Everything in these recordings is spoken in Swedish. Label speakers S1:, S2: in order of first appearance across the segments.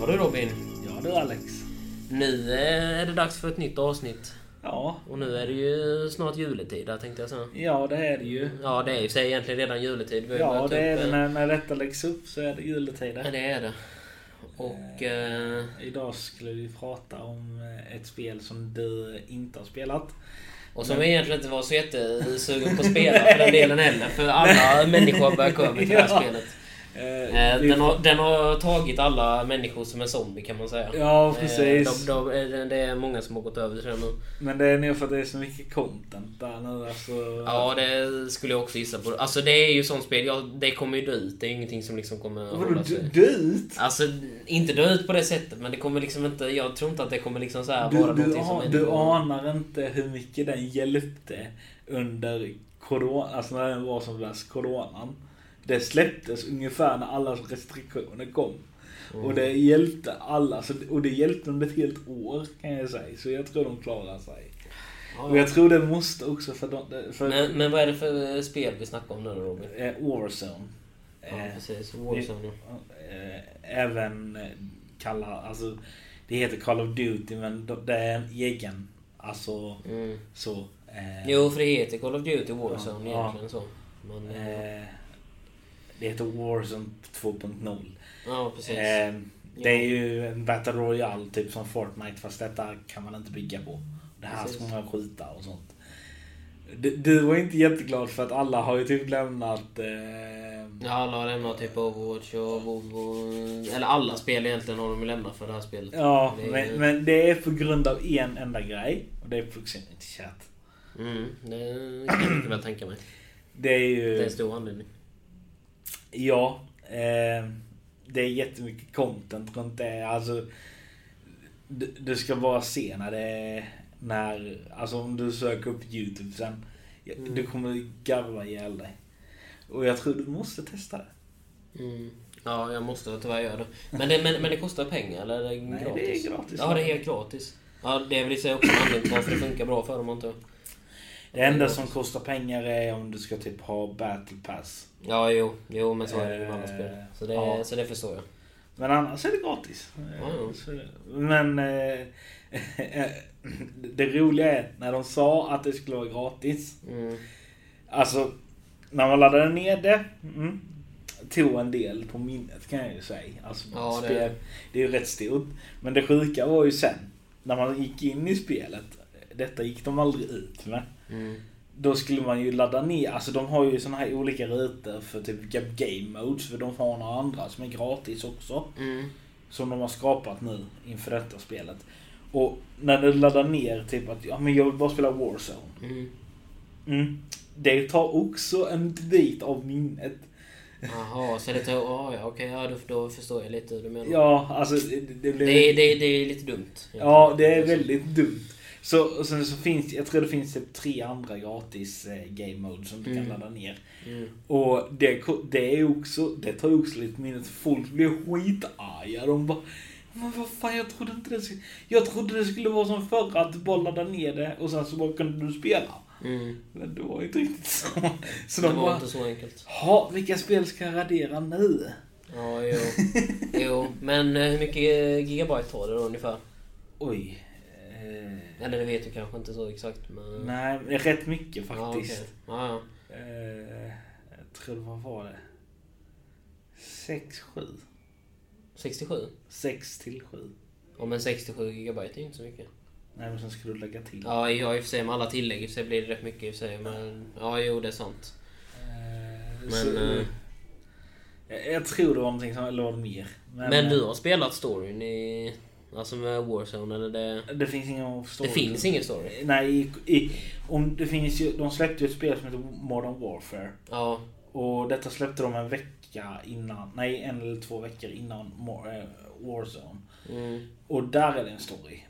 S1: var du Robin.
S2: Ja du Alex.
S1: Nu eh, är det dags för ett nytt avsnitt.
S2: Ja.
S1: Och nu är det ju snart juletid där tänkte jag säga.
S2: Ja det är det ju.
S1: Ja, det är ju i sig egentligen redan juletid. Vi har ju
S2: Ja
S1: börjat
S2: det är
S1: upp,
S2: det
S1: eh,
S2: när, när detta läggs upp så är
S1: Ja,
S2: det juletider.
S1: det är det. Och... Eh,
S2: Idag skulle vi prata om eh, ett spel som du inte har spelat.
S1: och som egentligen inte var så jättesugen på att spela för den delen heller. För alla människor börjar komma till det här
S2: Ja.
S1: spelet.
S2: Eh,
S1: Eh,
S2: vi-
S1: den, har, den har tagit alla människor som en zombie kan man säga.
S2: Ja
S1: Eh,
S2: precis.
S1: de, de, eh, det- det är många som har gått över till det nu.
S2: Men det är nog för att det är så mycket content där nu alltså.
S1: Ja, det skulle jag också gissa på. Alltså det är ju sånt spel, ja, det kommer ju dö ut. Det är ju ingenting som liksom kommer att
S2: Vadå
S1: hålla sig.
S2: du- du ut?
S1: Alltså, inte dö ut på det sättet, men det kommer liksom inte... Jag tror inte att det kommer liksom så här
S2: Du,
S1: vara
S2: du,
S1: någonting som...
S2: an,
S1: är-
S2: du anar inte hur mycket den hjälpte under corona, alltså när den var som värst, coronan. Det släpptes ungefär när alla restriktioner kom. Och
S1: Mm.
S2: det hjälpte alla, så, och det hjälpte under ett helt år kan jag säga. Så jag tror de klarar sig.
S1: Ja,
S2: Och jag tror det måste också för, de, för
S1: Men, men vad är det för eh, spel vi snackar om nu då, Robin?
S2: eh, Warzone.
S1: Ja,
S2: Eh,
S1: precis. Warzone, ja.
S2: Eh, även eh, kalla, alltså det heter Call of Duty men då- det är en egen, alltså
S1: Mm.
S2: så. Eh,
S1: Jo, för det heter Call of Duty Warzone
S2: Ja.
S1: egentligen så. Men, eh,
S2: Eh, det heter Warzone 2.0.
S1: ja, precis.
S2: Eh, det är ju en Battle Royale typ som Fortnite fast detta kan man inte bygga på. Det här
S1: Precis.
S2: ska man skjuta och sånt. Du, du var inte jätteglad för att alla har ju typ lämnat... Eh,
S1: Ja, alla har lämnat typ Overwatch och WoW och... Eller alla spel egentligen har de ju lämnat för det här spelet.
S2: ja,
S1: Det är ju-
S2: men, men det är på grund av en enda grej. Och det är proximity chat.
S1: Mm, det kan jag mycket väl tänka mig.
S2: Det är
S1: Det är en
S2: ju...
S1: stor anledning.
S2: Ja. Eh, det är jättemycket content runt det. Alltså, du, du ska bara se när det... När, alltså om du söker upp YouTube sen. ja,
S1: Mm.
S2: Du kommer garva ihjäl dig. Och jag tror du måste testa det.
S1: Mm. Ja, jag måste tyvärr göra det. Men det, men, men det kostar pengar, eller är det
S2: Nej, det är
S1: gratis?
S2: gratis.
S1: Ja, det är helt gratis. Ja, det är väl i sig också en anledning till varför det funkar bra för dem, antar jag.
S2: Det enda som kostar pengar är om du ska typ ha battle pass.
S1: Ja, jo. Jo, men så är det ju med alla
S2: Eh,
S1: spel. Så det,
S2: ja.
S1: så det förstår jag.
S2: Men annars är det gratis. Eh,
S1: ja.
S2: så- Men... Eh, det roliga är när de sa att det skulle vara gratis.
S1: Mm.
S2: Alltså, när man laddade ner det mm, tog en del på minnet kan jag ju säga. Alltså,
S1: Ja, det-
S2: spel, det... är ju rätt stort. Men det sjuka var ju sen, när man gick in i spelet, detta gick de aldrig ut med.
S1: Mm.
S2: Då skulle man ju ladda ner, alltså de har ju såna här olika rutor för typ game modes, för de har några andra som är gratis också.
S1: Mm.
S2: Som de har skapat nu inför detta spelet. Och när du laddar ner typ att ja, men jag vill bara spela Warzone.
S1: Mm.
S2: Mm. Det tar också en bit av minnet.
S1: Jaha, så det tar... Ja, ja, okej. Ja, då, då förstår jag lite hur du menar.
S2: Ja, alltså det, det blir...
S1: Det, är- det, är- det är lite dumt.
S2: ja, det är väldigt dumt. Så, och sen så finns, jag tror det finns typ tre andra gratis eh, game mode som du
S1: Mm.
S2: kan ladda ner.
S1: Mm.
S2: Och det, ko- det är också, det tar också lite minnet. Folk blir skitarga. De bara men vad fan, jag trodde inte det skulle... Jag trodde det skulle vara som förr, att du bara laddade ner det och sen så bara kunde du spela.
S1: Mm.
S2: Men det var ju inte riktigt så. Så
S1: Det
S2: de
S1: var
S2: bara...
S1: inte så enkelt.
S2: Ha, vilka spel ska jag radera nu?
S1: Ja, jo. jo. Men eh, hur mycket gigabyte tar det då ungefär?
S2: Oj. Eh,
S1: Eller det vet du kanske inte så exakt men...
S2: nej, men rätt mycket
S1: Ja,
S2: faktiskt.
S1: okej. ja, ja.
S2: eh, jag tror det var, var det? 6, 7.
S1: 67?
S2: 6 till 7.
S1: Ja men 67 gigabyte är ju inte så mycket.
S2: Nej, men sen ska du lägga till.
S1: Ja, ja i och för sig med alla tillägg i och för sig blir det rätt mycket i och för sig men... Ja jo det är sant.
S2: Eh,
S1: Men,
S2: så,
S1: eh,
S2: jag, jag tror det var någonting som, eller var det mer?
S1: Men du
S2: eh,
S1: har spelat storyn i... Alltså med Warzone eller det...
S2: eh, Det finns ingen story.
S1: Det finns ingen story?
S2: Nej, i, i, om det finns ju, de släppte ju ett spel som heter Modern Warfare.
S1: Ja.
S2: Och detta släppte de en vecka innan, nej en eller två veckor innan Mo- eh, Warzone.
S1: Mm.
S2: Och där är det en story.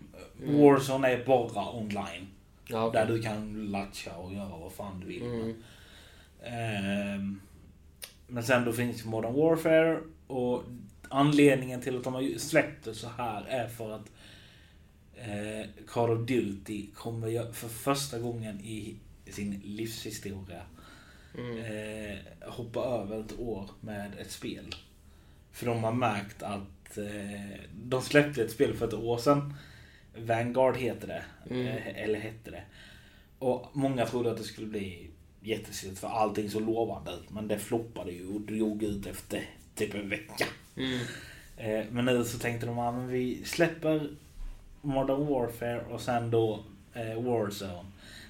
S2: Warzone är bara online.
S1: Ja,
S2: Där
S1: Mm. okej.
S2: du kan latcha och göra vad fan du vill.
S1: Mm.
S2: Ehm, men sen då finns Modern Warfare och anledningen till att de har släppt det så här är för att eh, Call of Duty kommer ju för första gången i sin livshistoria
S1: Mm.
S2: eh, hoppa över ett år med ett spel. För de har märkt att eh, de släppte ett spel för ett år sedan. Vanguard heter det.
S1: Mm.
S2: eh, Eller hette det. Och många trodde att det skulle bli jättesidigt för allting så lovande ut. Men det floppade ju och drog ut efter typ en vecka.
S1: Mm.
S2: Eh, Men nu så tänkte de att vi släpper Modern Warfare och sen då eh, Warzone.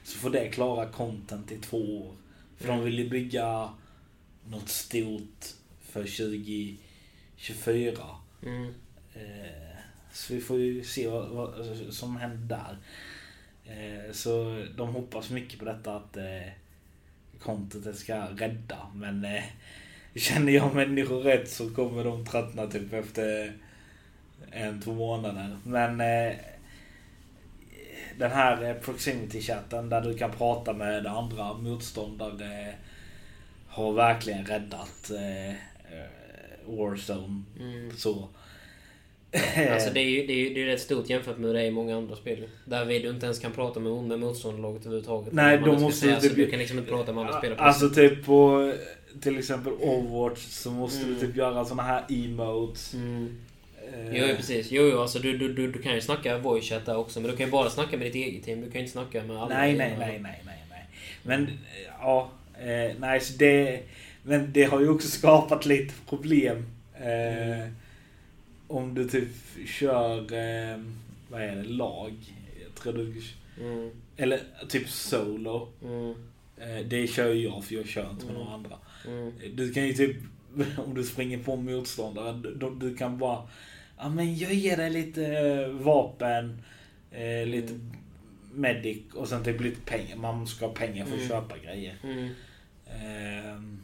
S2: Så får det klara content i två år. För de vill ju bygga något stort för 2024.
S1: Mm.
S2: Eh, Så vi får ju se vad, vad som händer där. Eh, Så de hoppas mycket på detta att eh, contentet ska rädda. Men eh, känner jag människor rätt så kommer de tröttna typ efter en, två månader. Men eh, den här eh, proximity-chatten där du kan prata med andra motståndare eh, har verkligen räddat eh, eh, Warzone.
S1: Mm.
S2: Så. Eh.
S1: Alltså det är ju det är, ju- det är rätt stort jämfört med hur det är i många andra spel. Där vi du inte ens kan prata med, med motståndarlaget överhuvudtaget.
S2: Nej,
S1: Man
S2: de
S1: inte ska
S2: måste
S1: säga,
S2: ju
S1: alltså,
S2: typ-
S1: Du kan liksom inte prata med andra spelare. på det
S2: Alltså typ på eh, till exempel Overwatch så måste
S1: Mm.
S2: du typ göra såna här emotes.
S1: sättet. Mm.
S2: Eh,
S1: Jo, jo, precis. Jo, jo, alltså du, du, du, du kan ju snacka voice chat där också, men du kan ju bara snacka med ditt eget team. Du kan ju inte snacka med alla.
S2: nej, nej, nej, nej, nej, nej. Men eh, ja, eh, nej så det... Men det har ju också skapat lite problem. Eh,
S1: Mm.
S2: Om du typ kör, eh, vad är det, lag? Jag tror du,
S1: Mm,
S2: eller typ solo.
S1: mm,
S2: Eh, det kör ju jag för jag kör inte med
S1: Mm.
S2: några andra.
S1: mm.
S2: Du kan ju typ, om du springer på en motståndare, du, du- du kan bara... Ja men jag ger dig lite eh, vapen, eh, lite
S1: Mm.
S2: medic och sen typ lite pengar. Man ska ha pengar för att
S1: Mm.
S2: köpa grejer.
S1: Mm.
S2: Ehm,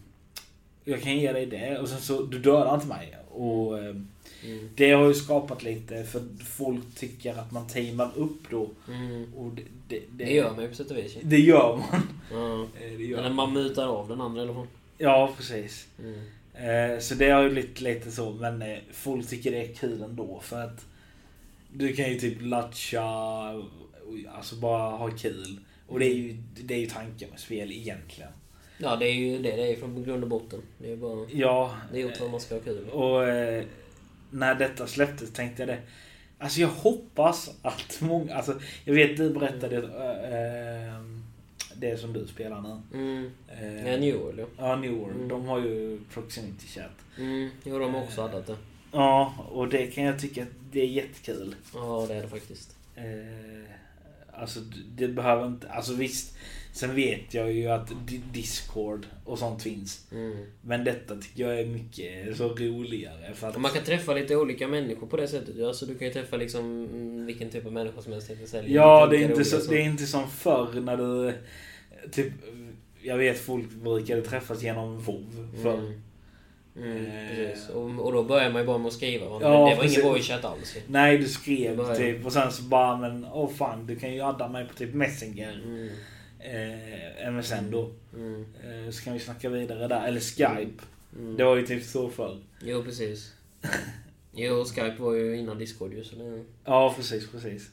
S2: jag kan ge dig det och sen så, du dödar inte mig. Och eh,
S1: Mm.
S2: det har ju skapat lite, för folk tycker att man teamar upp då.
S1: Mm.
S2: Och det, det, det,
S1: Det gör man ju på sätt och vis. ju.
S2: det gör man.
S1: Ja.
S2: Eh, Det
S1: Eller
S2: gör man.
S1: man mutar av den andra i alla fall.
S2: Ja, precis.
S1: Mm.
S2: Eh, Så det har ju blivit lite så, men eh, folk tycker det är kul ändå för att du kan ju typ latcha, och- alltså bara ha kul. Och det är ju, det är ju tanken med spel egentligen.
S1: Ja, det är ju det. Det är från grund och botten. Det är ju bara...
S2: Ja,
S1: Det är gjort för att man ska ha kul.
S2: och eh, när detta släpptes tänkte jag det. Alltså jag hoppas att många, alltså jag vet du berättade eh, eh, det som du spelar nu.
S1: Mm.
S2: Eh,
S1: Ja, Newell ja.
S2: Ja, New World.
S1: Mm.
S2: De har ju proximity chat.
S1: Mm. Jo, de har också addat det.
S2: Ja, och det kan jag tycka att det är jättekul.
S1: Ja, det är det faktiskt.
S2: Eh, alltså d- det behöver inte, alltså visst. Sen vet jag ju att di- Discord och sånt finns.
S1: Mm.
S2: Men detta tycker jag är mycket eh, så roligare. För att,
S1: Och Man kan träffa lite olika människor på det sättet. ju. Alltså, du kan ju träffa liksom mm, vilken typ av människor som helst. tänkte sälja.
S2: ja,
S1: Tänka
S2: det är, inte
S1: roliga
S2: så,
S1: saker.
S2: det är inte som förr när du... eh, Typ, jag vet folk brukade träffas genom WoW förr.
S1: Mm. Mm,
S2: Eh.
S1: precis. Och, och då börjar man ju bara med att skriva. va?
S2: Ja,
S1: det var
S2: precis.
S1: ingen voice chat alls. ju.
S2: Nej, du skrev
S1: Början.
S2: typ och sen så bara men åh oh, fan du kan ju adda mig på typ Messenger.
S1: Mm.
S2: Eh, MSN då.
S1: Mm.
S2: Eh, så kan vi snacka vidare där. Eller Skype.
S1: Mm.
S2: Det var ju typ så förr.
S1: Jo, precis. Jo, Skype var ju innan Discord ju. Så det...
S2: Ja, precis, precis.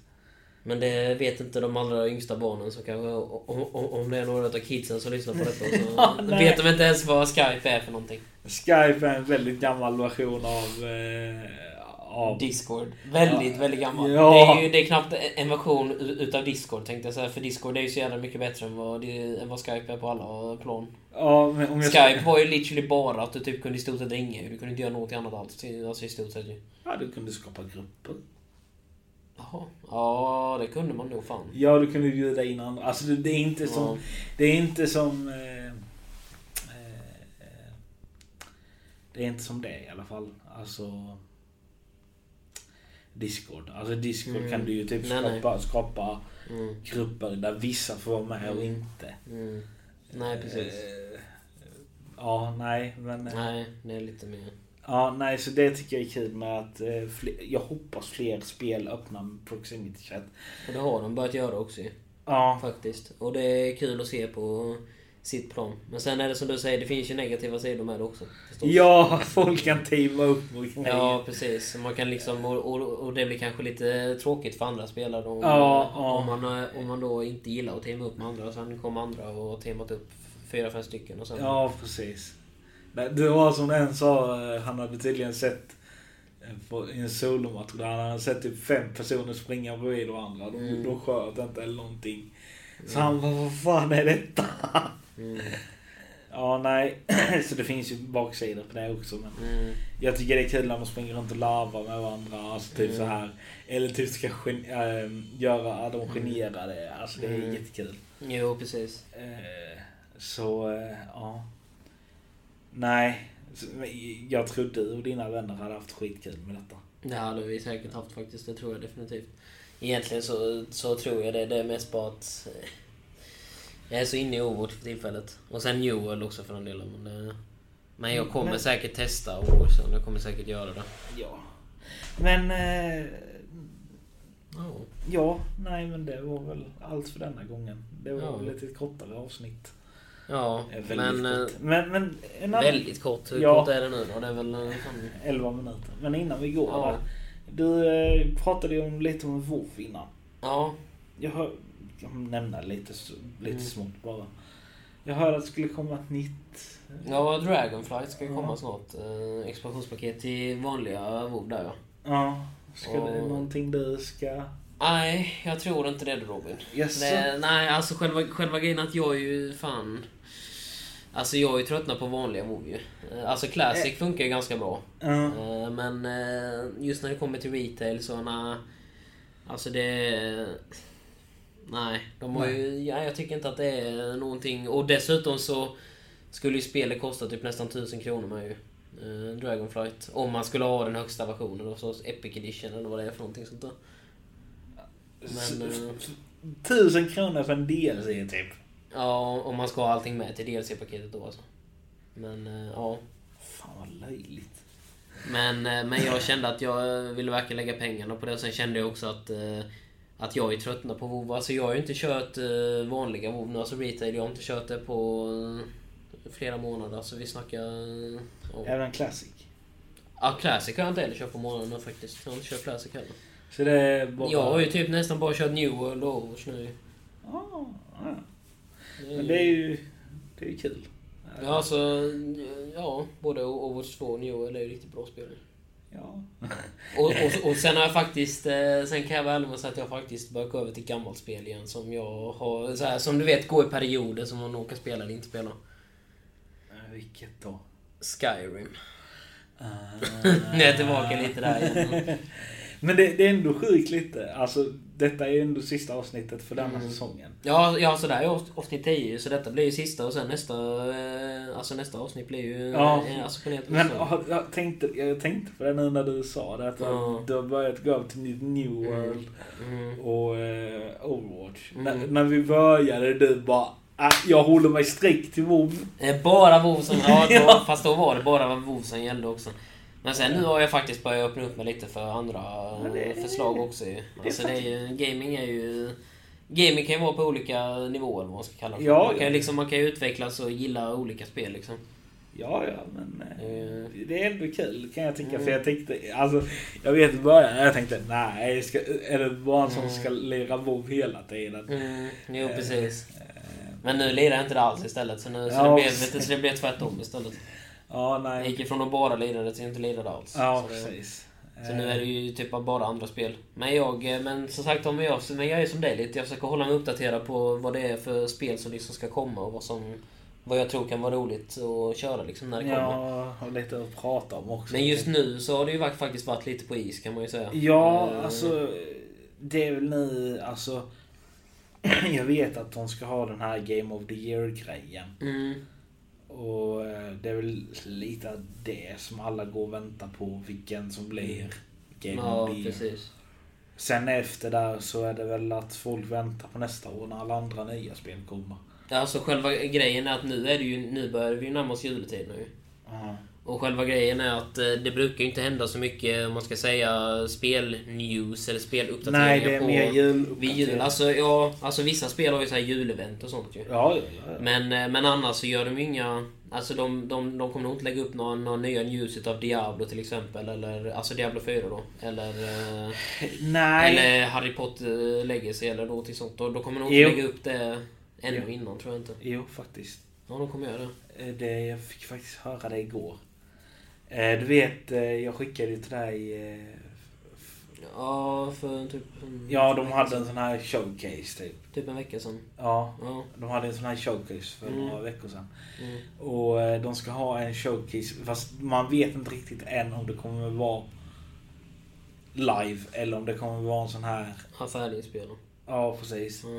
S1: Men det vet inte de allra yngsta barnen som kanske, om, om, om det är några utav kidsen som lyssnar på detta, så
S2: Ja, nej.
S1: vet de inte ens vad Skype är för någonting.
S2: Skype är en väldigt gammal version av... Eh, av
S1: Discord. Väldigt,
S2: Ja.
S1: väldigt gammal.
S2: Ja.
S1: Det, är ju, det är knappt en version u- utav Discord tänkte jag säga, för Discord är ju så jävla mycket bättre än vad, det- än vad Skype är på alla plan.
S2: ja, men om jag
S1: Skype var ju literally bara att du typ kunde i stort sett ringa ju. Du kunde inte göra något annat alls. Alltså i stort sett ju.
S2: Ja, du kunde skapa grupper.
S1: Jaha. Ja, det kunde man nog fan.
S2: Ja, du kunde bjuda in andra. Alltså det, det är inte som...
S1: Ja.
S2: Det är inte som... Eh, eh, det är inte som det i alla fall. Alltså... Discord. Alltså Discord
S1: Mm.
S2: kan du ju typ
S1: Nej, nej.
S2: skapa, skapa
S1: Mm,
S2: grupper där vissa får vara med och
S1: Mm.
S2: inte.
S1: mm. Nej, precis.
S2: Eh, ja, nej, men...
S1: Nej, det är lite mer...
S2: Ja, nej, så det tycker jag är kul med att eh, fler, jag hoppas fler spel öppnar proximity chat.
S1: Och det har de börjat göra också ju,
S2: Ja,
S1: faktiskt. Och det är kul att se på sitt plan. Men sen är det som du säger, det finns ju negativa sidor med det också. förstås.
S2: ja, folk kan teama upp mot mig.
S1: Ja, precis. Så Man kan liksom, och, och, och det blir kanske lite tråkigt för andra spelare om,
S2: Ja, ja.
S1: om, man, eh, om man då inte gillar att teama upp med andra. Och sen kommer andra och har teamat upp fyra, fem stycken och sen...
S2: Ja, precis. Men Det var som en sa, eh, han hade tydligen sett eh, på- i en solomatch, där han hade sett typ fem personer springa bredvid varandra. De,
S1: Mm.
S2: de sköt inte eller någonting. Så han bara, vad fan är detta?
S1: Mm.
S2: Ja, nej. Så det finns ju baksidor på det också. Men
S1: Mm.
S2: jag tycker det är kul när man springer runt och larvar med varandra. Alltså typ
S1: Mm.
S2: så här. Eller typ ska gen- äh, göra de generade. Alltså det är
S1: Mm.
S2: jättekul.
S1: Jo, precis.
S2: Eh, Så, eh, ja. Nej. Så, men Jag tror du och dina vänner hade haft skitkul med detta.
S1: Det hade vi säkert haft faktiskt, det tror jag definitivt. Egentligen så, så tror jag det. Det är mest bara att... eh, Jag är så inne i Overwatch för tillfället. Och sen Joel också för den delen. Men, det, men jag kommer
S2: Men-
S1: säkert testa Warzone. Jag kommer säkert göra det.
S2: Ja. Men, eh,
S1: Ja.
S2: ja. Nej, men det var väl allt för denna gången. Det var
S1: Ja.
S2: väl ett lite kortare avsnitt.
S1: Ja,
S2: Eh, Väldigt
S1: men... eh,
S2: kort. Men, men en annan...
S1: Väldigt kort. Hur
S2: Ja.
S1: kort är det nu då? Det är väl... eh, fan-
S2: 11 minuter. Men innan vi går
S1: Ja.
S2: där. Du eh, pratade ju om, lite om WoW innan.
S1: Ja.
S2: Jag hör... Jag nämna lite, s- lite
S1: Mm.
S2: smått bara. Jag hörde att det skulle komma ett nytt...
S1: Ja, Dragonflight ska ju komma
S2: Ja.
S1: snart. Eh, expansionspaket till vanliga WoW där ja.
S2: Ja. Ska det
S1: Och-
S2: någonting du ska...
S1: Nej, jag tror inte det Robin.
S2: Jaså?
S1: Det, nej, alltså själva, själva grejen att jag är ju fan... Alltså jag är ju tröttnat på vanliga WoW ju. Eh, Alltså Classic funkar ju ganska bra.
S2: Ja.
S1: Eh, Men eh, just när det kommer till retail så nej. Alltså det... Nej, de har ju, ja, jag tycker inte att det är någonting. Och dessutom så skulle ju spelet kosta typ nästan 1000 kronor med ju. Eh, Dragonflight. Om man skulle ha den högsta versionen då, så Epic Edition eller vad det är för någonting sånt där. men,
S2: S-
S1: eh,
S2: f- Tusen kronor för en DLC typ.
S1: Ja, om man ska ha allting med till DLC-paketet då alltså. Men eh, ja.
S2: Fan vad löjligt.
S1: Men, eh, men jag kände att jag eh, ville verkligen lägga pengarna på det. Och sen kände jag också att, eh, att jag är tröttnad på WoW. Alltså jag har ju inte kört eh, vanliga WoW nu. Alltså retail. Jag har inte kört det på eh, flera månader. Så vi snackar... eh, Ja,
S2: Även Classic.
S1: ja Classic har jag inte heller kört på månaden nu faktiskt. Jag har inte kört Classic heller.
S2: Så det är bara...
S1: Jag har ju typ nästan bara kört New World och Overwatch nu.
S2: Ah, ja.
S1: Det är
S2: Men det är ju... Det är ju kul.
S1: Ja, alltså... Ja, både Overwatch 2 och New World är ju riktigt bra spel.
S2: Ja.
S1: Och, och, och sen har jag faktiskt, eh, sen kan jag vara ärlig med att säga att jag faktiskt börjat gå över till gammalt spel igen som jag har, så här, som du vet går i perioder som man orkar spela eller inte spela.
S2: Eh, Vilket då?
S1: Skyrim.
S2: Ah.
S1: Nu är jag tillbaka lite där igen.
S2: Men det, det är ändå sjukt lite. Alltså, detta är ju ändå sista avsnittet för denna
S1: Mm.
S2: säsongen.
S1: Ja, ja sådär jag är 80-10 så detta blir ju sista och sen nästa, eh, alltså nästa avsnitt blir ju,
S2: Ja.
S1: eh, alltså på nätet
S2: Men
S1: också.
S2: ah, jag tänkte, jag tänkte på det nu när du sa det. Att
S1: Ja.
S2: Du har börjat gå upp till New- New World
S1: Mm.
S2: och eh, Overwatch.
S1: Mm.
S2: När, när vi började du bara "Ah, jag håller mig strikt till WoW.
S1: Eh, Bara WoW som... Ja, då,
S2: Ja.
S1: fast då var det bara WoW som gällde också. Men sen nu har jag faktiskt börjat öppna upp mig lite för andra
S2: Men det-
S1: eh, förslag också ju. Alltså det är ju, gaming är ju... Gaming kan ju vara på olika nivåer vad man ska kalla det för.
S2: Ja,
S1: man, kan ju
S2: ja.
S1: liksom, man kan ju utvecklas och gilla olika spel liksom.
S2: Ja, ja, men eh,
S1: Eh.
S2: det är ändå kul kan jag tycka.
S1: Mm.
S2: För jag tänkte, alltså, jag vet i början, jag tänkte nej, ska, är det barn som
S1: Mm.
S2: ska lira WoW hela tiden?
S1: Mm, jo
S2: Eh,
S1: precis.
S2: Eh,
S1: Men nu lirar jag inte det alls istället. Så, nu, så,
S2: Ja,
S1: det, blev,
S2: precis.
S1: vet du, så det blev tvärtom istället.
S2: Ja,
S1: Jag
S2: nej.
S1: gick ifrån att bara lira det till att inte lira det alls.
S2: Ja,
S1: Så det-
S2: precis.
S1: Så nu är det ju typ bara andra spel. Men jag, eh, men som sagt, om jag, men jag är som dig lite. Jag försöker hålla mig uppdaterad på vad det är för spel som liksom ska komma och vad som... Vad jag tror kan vara roligt att köra liksom när det kommer.
S2: Ja, har lite att prata om också.
S1: Men just nu så har det ju varit- faktiskt varit lite på is kan man ju säga.
S2: Ja,
S1: Eh,
S2: alltså. Det är väl nu, alltså. Jag vet att de ska ha den här Game of the Year-grejen.
S1: Mm,
S2: Och eh, det är väl lite det som alla går och väntar på. Vilken som blir Game
S1: Mm. ja,
S2: of the Year.
S1: precis.
S2: Sen efter där så är det väl att folk väntar på nästa år när alla andra nya spel kommer.
S1: Ja, Alltså själva grejen är att nu är det ju, nu börjar vi ju närma oss juletid nu.
S2: Ja.
S1: Och själva grejen är att eh, det brukar ju inte hända så mycket, om man ska säga, spelnews eller speluppdateringar
S2: Nej, det är
S1: på...
S2: mer jul.
S1: Vid jul, alltså, ja, alltså vissa spel har ju så här julevent och sånt ju.
S2: Ja, ja, ja.
S1: Men, eh, men annars så gör de ju inga... Alltså de, de, de kommer nog inte lägga upp några, några nya news av Diablo till exempel. Eller, alltså Diablo 4 då. Eller, eh,
S2: Nej.
S1: eller Harry eh, Potter Legacy eller någonting sånt. Då, då kommer de nog
S2: Jo.
S1: inte lägga upp det ännu
S2: Jo.
S1: innan tror jag inte.
S2: Jo, faktiskt.
S1: Ja, de kommer göra det.
S2: Eh, Det, jag fick faktiskt höra det igår. Eh, Du vet, eh, jag skickade ju till dig... eh, f-
S1: Ja, för typ... en-
S2: Ja, de hade en sån här showcase typ.
S1: Typ en vecka sedan.
S2: Ja,
S1: Ja.
S2: de hade en sån här showcase för
S1: Mm.
S2: några veckor sedan.
S1: Mm.
S2: Och eh, de ska ha en showcase fast man vet inte riktigt än om det kommer vara live eller om det kommer vara en sån här...
S1: Han färdiginspelad.
S2: Ja, precis.
S1: Ja.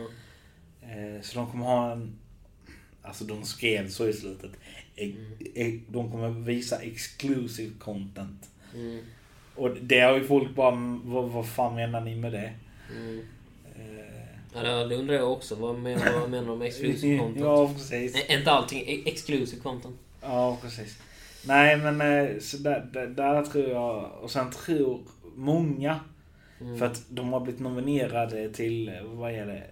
S2: Eh, Så de kommer ha en... Alltså de skrev så i slutet. E-
S1: Mm.
S2: e- De kommer visa exclusive content.
S1: Mm.
S2: Och det har ju folk bara, "Mm, vad, vad fan menar ni med det?
S1: Mm.
S2: Eh,
S1: Ja, det undrar jag också. Vad menar, vad menar de med exclusive content?
S2: Ja, precis.
S1: Nej, inte allting är exclusive content.
S2: Ja, precis. Nej, men eh, så där, där, där tror jag... Och sen tror många
S1: Mm.
S2: För att de har blivit nominerade till, eh, vad är det?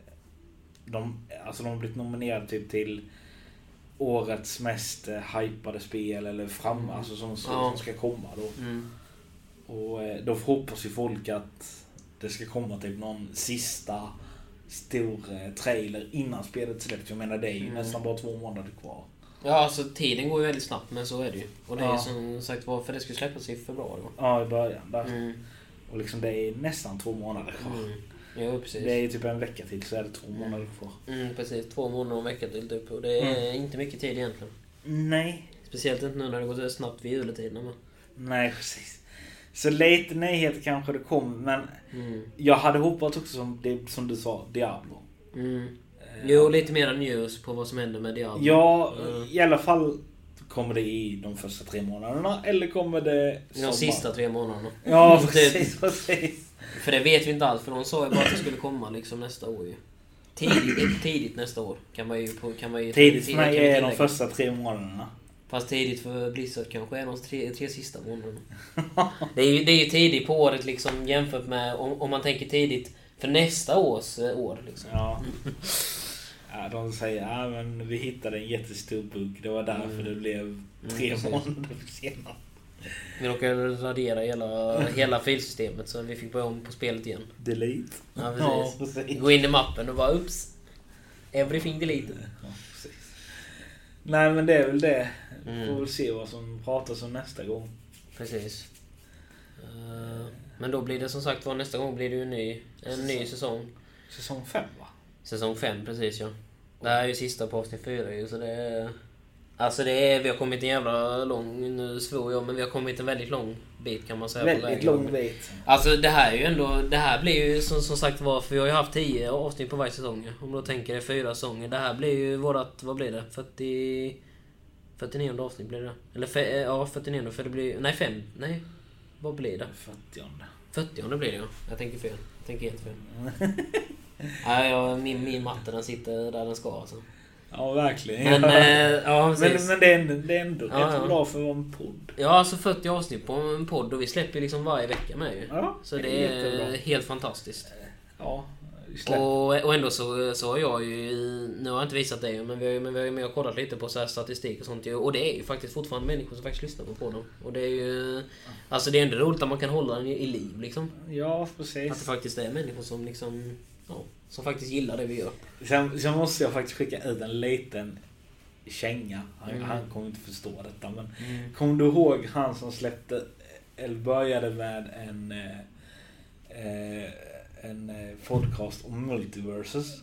S2: De, alltså de har blivit nominerade typ till årets mest eh, hypade spel eller fram,
S1: Mm.
S2: alltså som, som,
S1: Ja.
S2: som ska komma då.
S1: Mm.
S2: Och eh, då hoppas ju folk att det ska komma typ någon sista stor eh, trailer innan spelet släpps. Jag menar det är ju
S1: Mm.
S2: nästan bara två månader kvar.
S1: Ja, alltså tiden går ju väldigt snabbt, men så är det ju. Och det är
S2: Ja.
S1: ju som sagt var, för det skulle släppas i februari va?
S2: Ja, i början där.
S1: Mm.
S2: Och liksom det är nästan två månader kvar.
S1: Mm. Ja, precis.
S2: Det är ju typ en vecka till så är det två
S1: Mm.
S2: månader kvar.
S1: Mm, precis. Två månader och en vecka till typ. Och det är
S2: Mm.
S1: inte mycket tid egentligen.
S2: Nej,
S1: Speciellt inte nu när det går så snabbt vid juletiderna men.
S2: Nej, precis. Så lite nyheter kanske det kom, men
S1: Mm.
S2: jag hade hoppats också som, det, som du sa, Diablo.
S1: Mm.
S2: Eh,
S1: Jo, lite mera news på vad som händer med Diablo.
S2: Ja,
S1: Mm.
S2: i alla fall kommer det i de första tre månaderna, eller kommer det...
S1: De sista tre månaderna.
S2: Ja,
S1: Det-
S2: precis, precis.
S1: För det vet vi inte alls, för de sa ju bara att det skulle komma liksom nästa år ju. Tidigt, tidigt nästa år kan man ju... på- Kan man ju
S2: Tidigt för
S1: kan
S2: mig
S1: vi
S2: är de
S1: tillägga.
S2: första tre månaderna.
S1: Fast tidigt för Blizzard kanske är de tre, tre sista månaderna. Det är, ju, det är ju tidigt på året liksom jämfört med om, om man tänker tidigt för nästa års eh, år. Liksom.
S2: Ja. Ja, de säger ja, men vi hittade en jättestor bugg. Det var därför
S1: Mm.
S2: det blev tre
S1: precis.
S2: månader senare.
S1: Vi råkade radera hela, hela filsystemet så vi fick börja om på spelet igen.
S2: Delete.
S1: Ja, precis.
S2: precis.
S1: Gå in i mappen och bara ups. Everything deleted.
S2: Ja, precis. Nej men det är väl det. Får
S1: Mm,
S2: väl se vad som pratas om nästa gång.
S1: precis. Eh, Men då blir det som sagt var nästa gång blir det ju en ny, en ny säsong.
S2: Säsong 5 va?
S1: Säsong 5 precis ja. Det här är ju sista på avsnitt 4 ju så det är... Alltså det är, vi har kommit en jävla lång, nu svor jag, men vi har kommit en väldigt lång bit kan man säga. på
S2: Väldigt
S1: vägen.
S2: lång bit.
S1: Alltså det här är ju ändå, det här blir ju som, som sagt var, för vi har ju haft 10 avsnitt på varje säsong. Om du tänker dig fyra säsonger. Det här blir ju vårat, vad blir det? 40... 49 avsnitt blir det. Eller fe, eh, ja, 49 för det blir Nej, 5. Nej. Vad blir det?
S2: 40.
S1: 40 blir det ja. Jag tänker fel. Jag tänker helt fel. Nej, jag, min, min matte den sitter där den ska alltså.
S2: Ja verkligen.
S1: Men,
S2: ja.
S1: eh, ja
S2: men,
S1: precis.
S2: men det är ändå, det är ändå
S1: Ja,
S2: rätt
S1: ja.
S2: bra för att vara en podd.
S1: Ja, alltså 40 avsnitt på en podd och vi släpper liksom varje vecka med ju.
S2: Ja,
S1: Så det är
S2: jättebra.
S1: helt fantastiskt.
S2: Ja, vi släpper.
S1: Och, och ändå så, så har jag ju, nu har jag inte visat det men vi har ju men vi har ju med och kollat lite på så här statistik och sånt ju. Och det är ju faktiskt fortfarande människor som faktiskt lyssnar på podden. Och det är ju, alltså det är ändå roligt att man kan hålla den i i liv liksom.
S2: Ja
S1: Att det
S2: precis.
S1: faktiskt är människor som liksom, ja, som faktiskt gillar det vi gör.
S2: Sen, sen måste jag faktiskt skicka ut en liten känga. Han,
S1: Mm.
S2: han kommer inte förstå detta men Kommer du ihåg han som släppte, eller började med en, eh, eh, en eh, podcast om multiverses?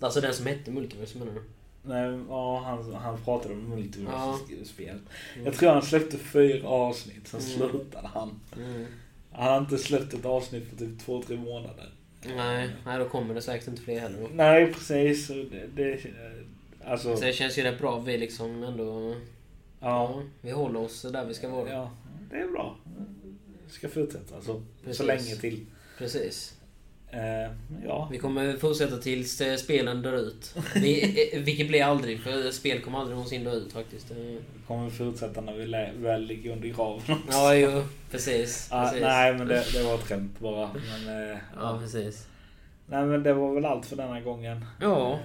S1: Alltså den som hette Multiverse menar du?
S2: Nej, ja, han, han pratade om multiverses-spel.
S1: Mm.
S2: Jag tror han släppte fyra avsnitt, sen
S1: Mm.
S2: slutade han.
S1: Mm.
S2: Han har inte släppt ett avsnitt på typ två, tre månader.
S1: Nej, nej, då kommer det säkert inte fler heller. då.
S2: Nej, precis. så Det, det, eh, alltså,
S1: Så det känns ju rätt bra. Vi liksom ändå...
S2: ja.
S1: Vi håller oss där vi ska vara.
S2: ja. Det är bra. Ska fortsätta alltså, så, så
S1: Precis.
S2: länge till.
S1: Precis.
S2: Eh, ja.
S1: Vi kommer fortsätta tills eh, spelen dör ut. Vi, eh, vilket blir aldrig, för spel kommer aldrig någonsin dö ut faktiskt. Eh,
S2: Vi kommer fortsätta när vi lä- väl ligger under graven.
S1: Ja, jo. Precis.
S2: Ah,
S1: precis.
S2: nej men det, det var ett skämt bara. Men, eh,
S1: Ja, precis.
S2: Nej men det var väl allt för denna gången.
S1: Ja.
S2: Eh,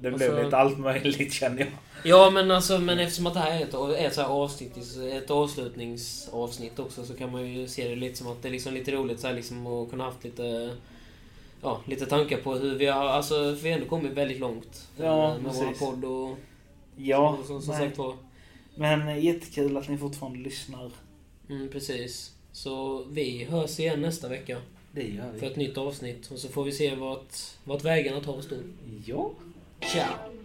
S2: Det
S1: Och
S2: blev
S1: så-
S2: lite allt möjligt känner jag.
S1: Ja, men alltså, men eftersom att det här är ett, är ett, så här avsnitt, ett avslutningsavsnitt också så kan man ju se det lite som att det är liksom lite roligt så här, liksom, att kunna haft lite, ja, lite tankar på hur vi har, alltså för vi har ändå kommit väldigt långt
S2: Ja,
S1: eh, med
S2: precis.
S1: vår podd och
S2: Ja,
S1: som, som
S2: nej.
S1: sagt var.
S2: men eh, jättekul att ni fortfarande lyssnar.
S1: Mm, precis. Så vi hörs igen nästa vecka
S2: Det gör
S1: för ett nytt avsnitt. Och så får vi se vart, vart vägarna tar oss då.
S2: Ja.
S1: Ciao!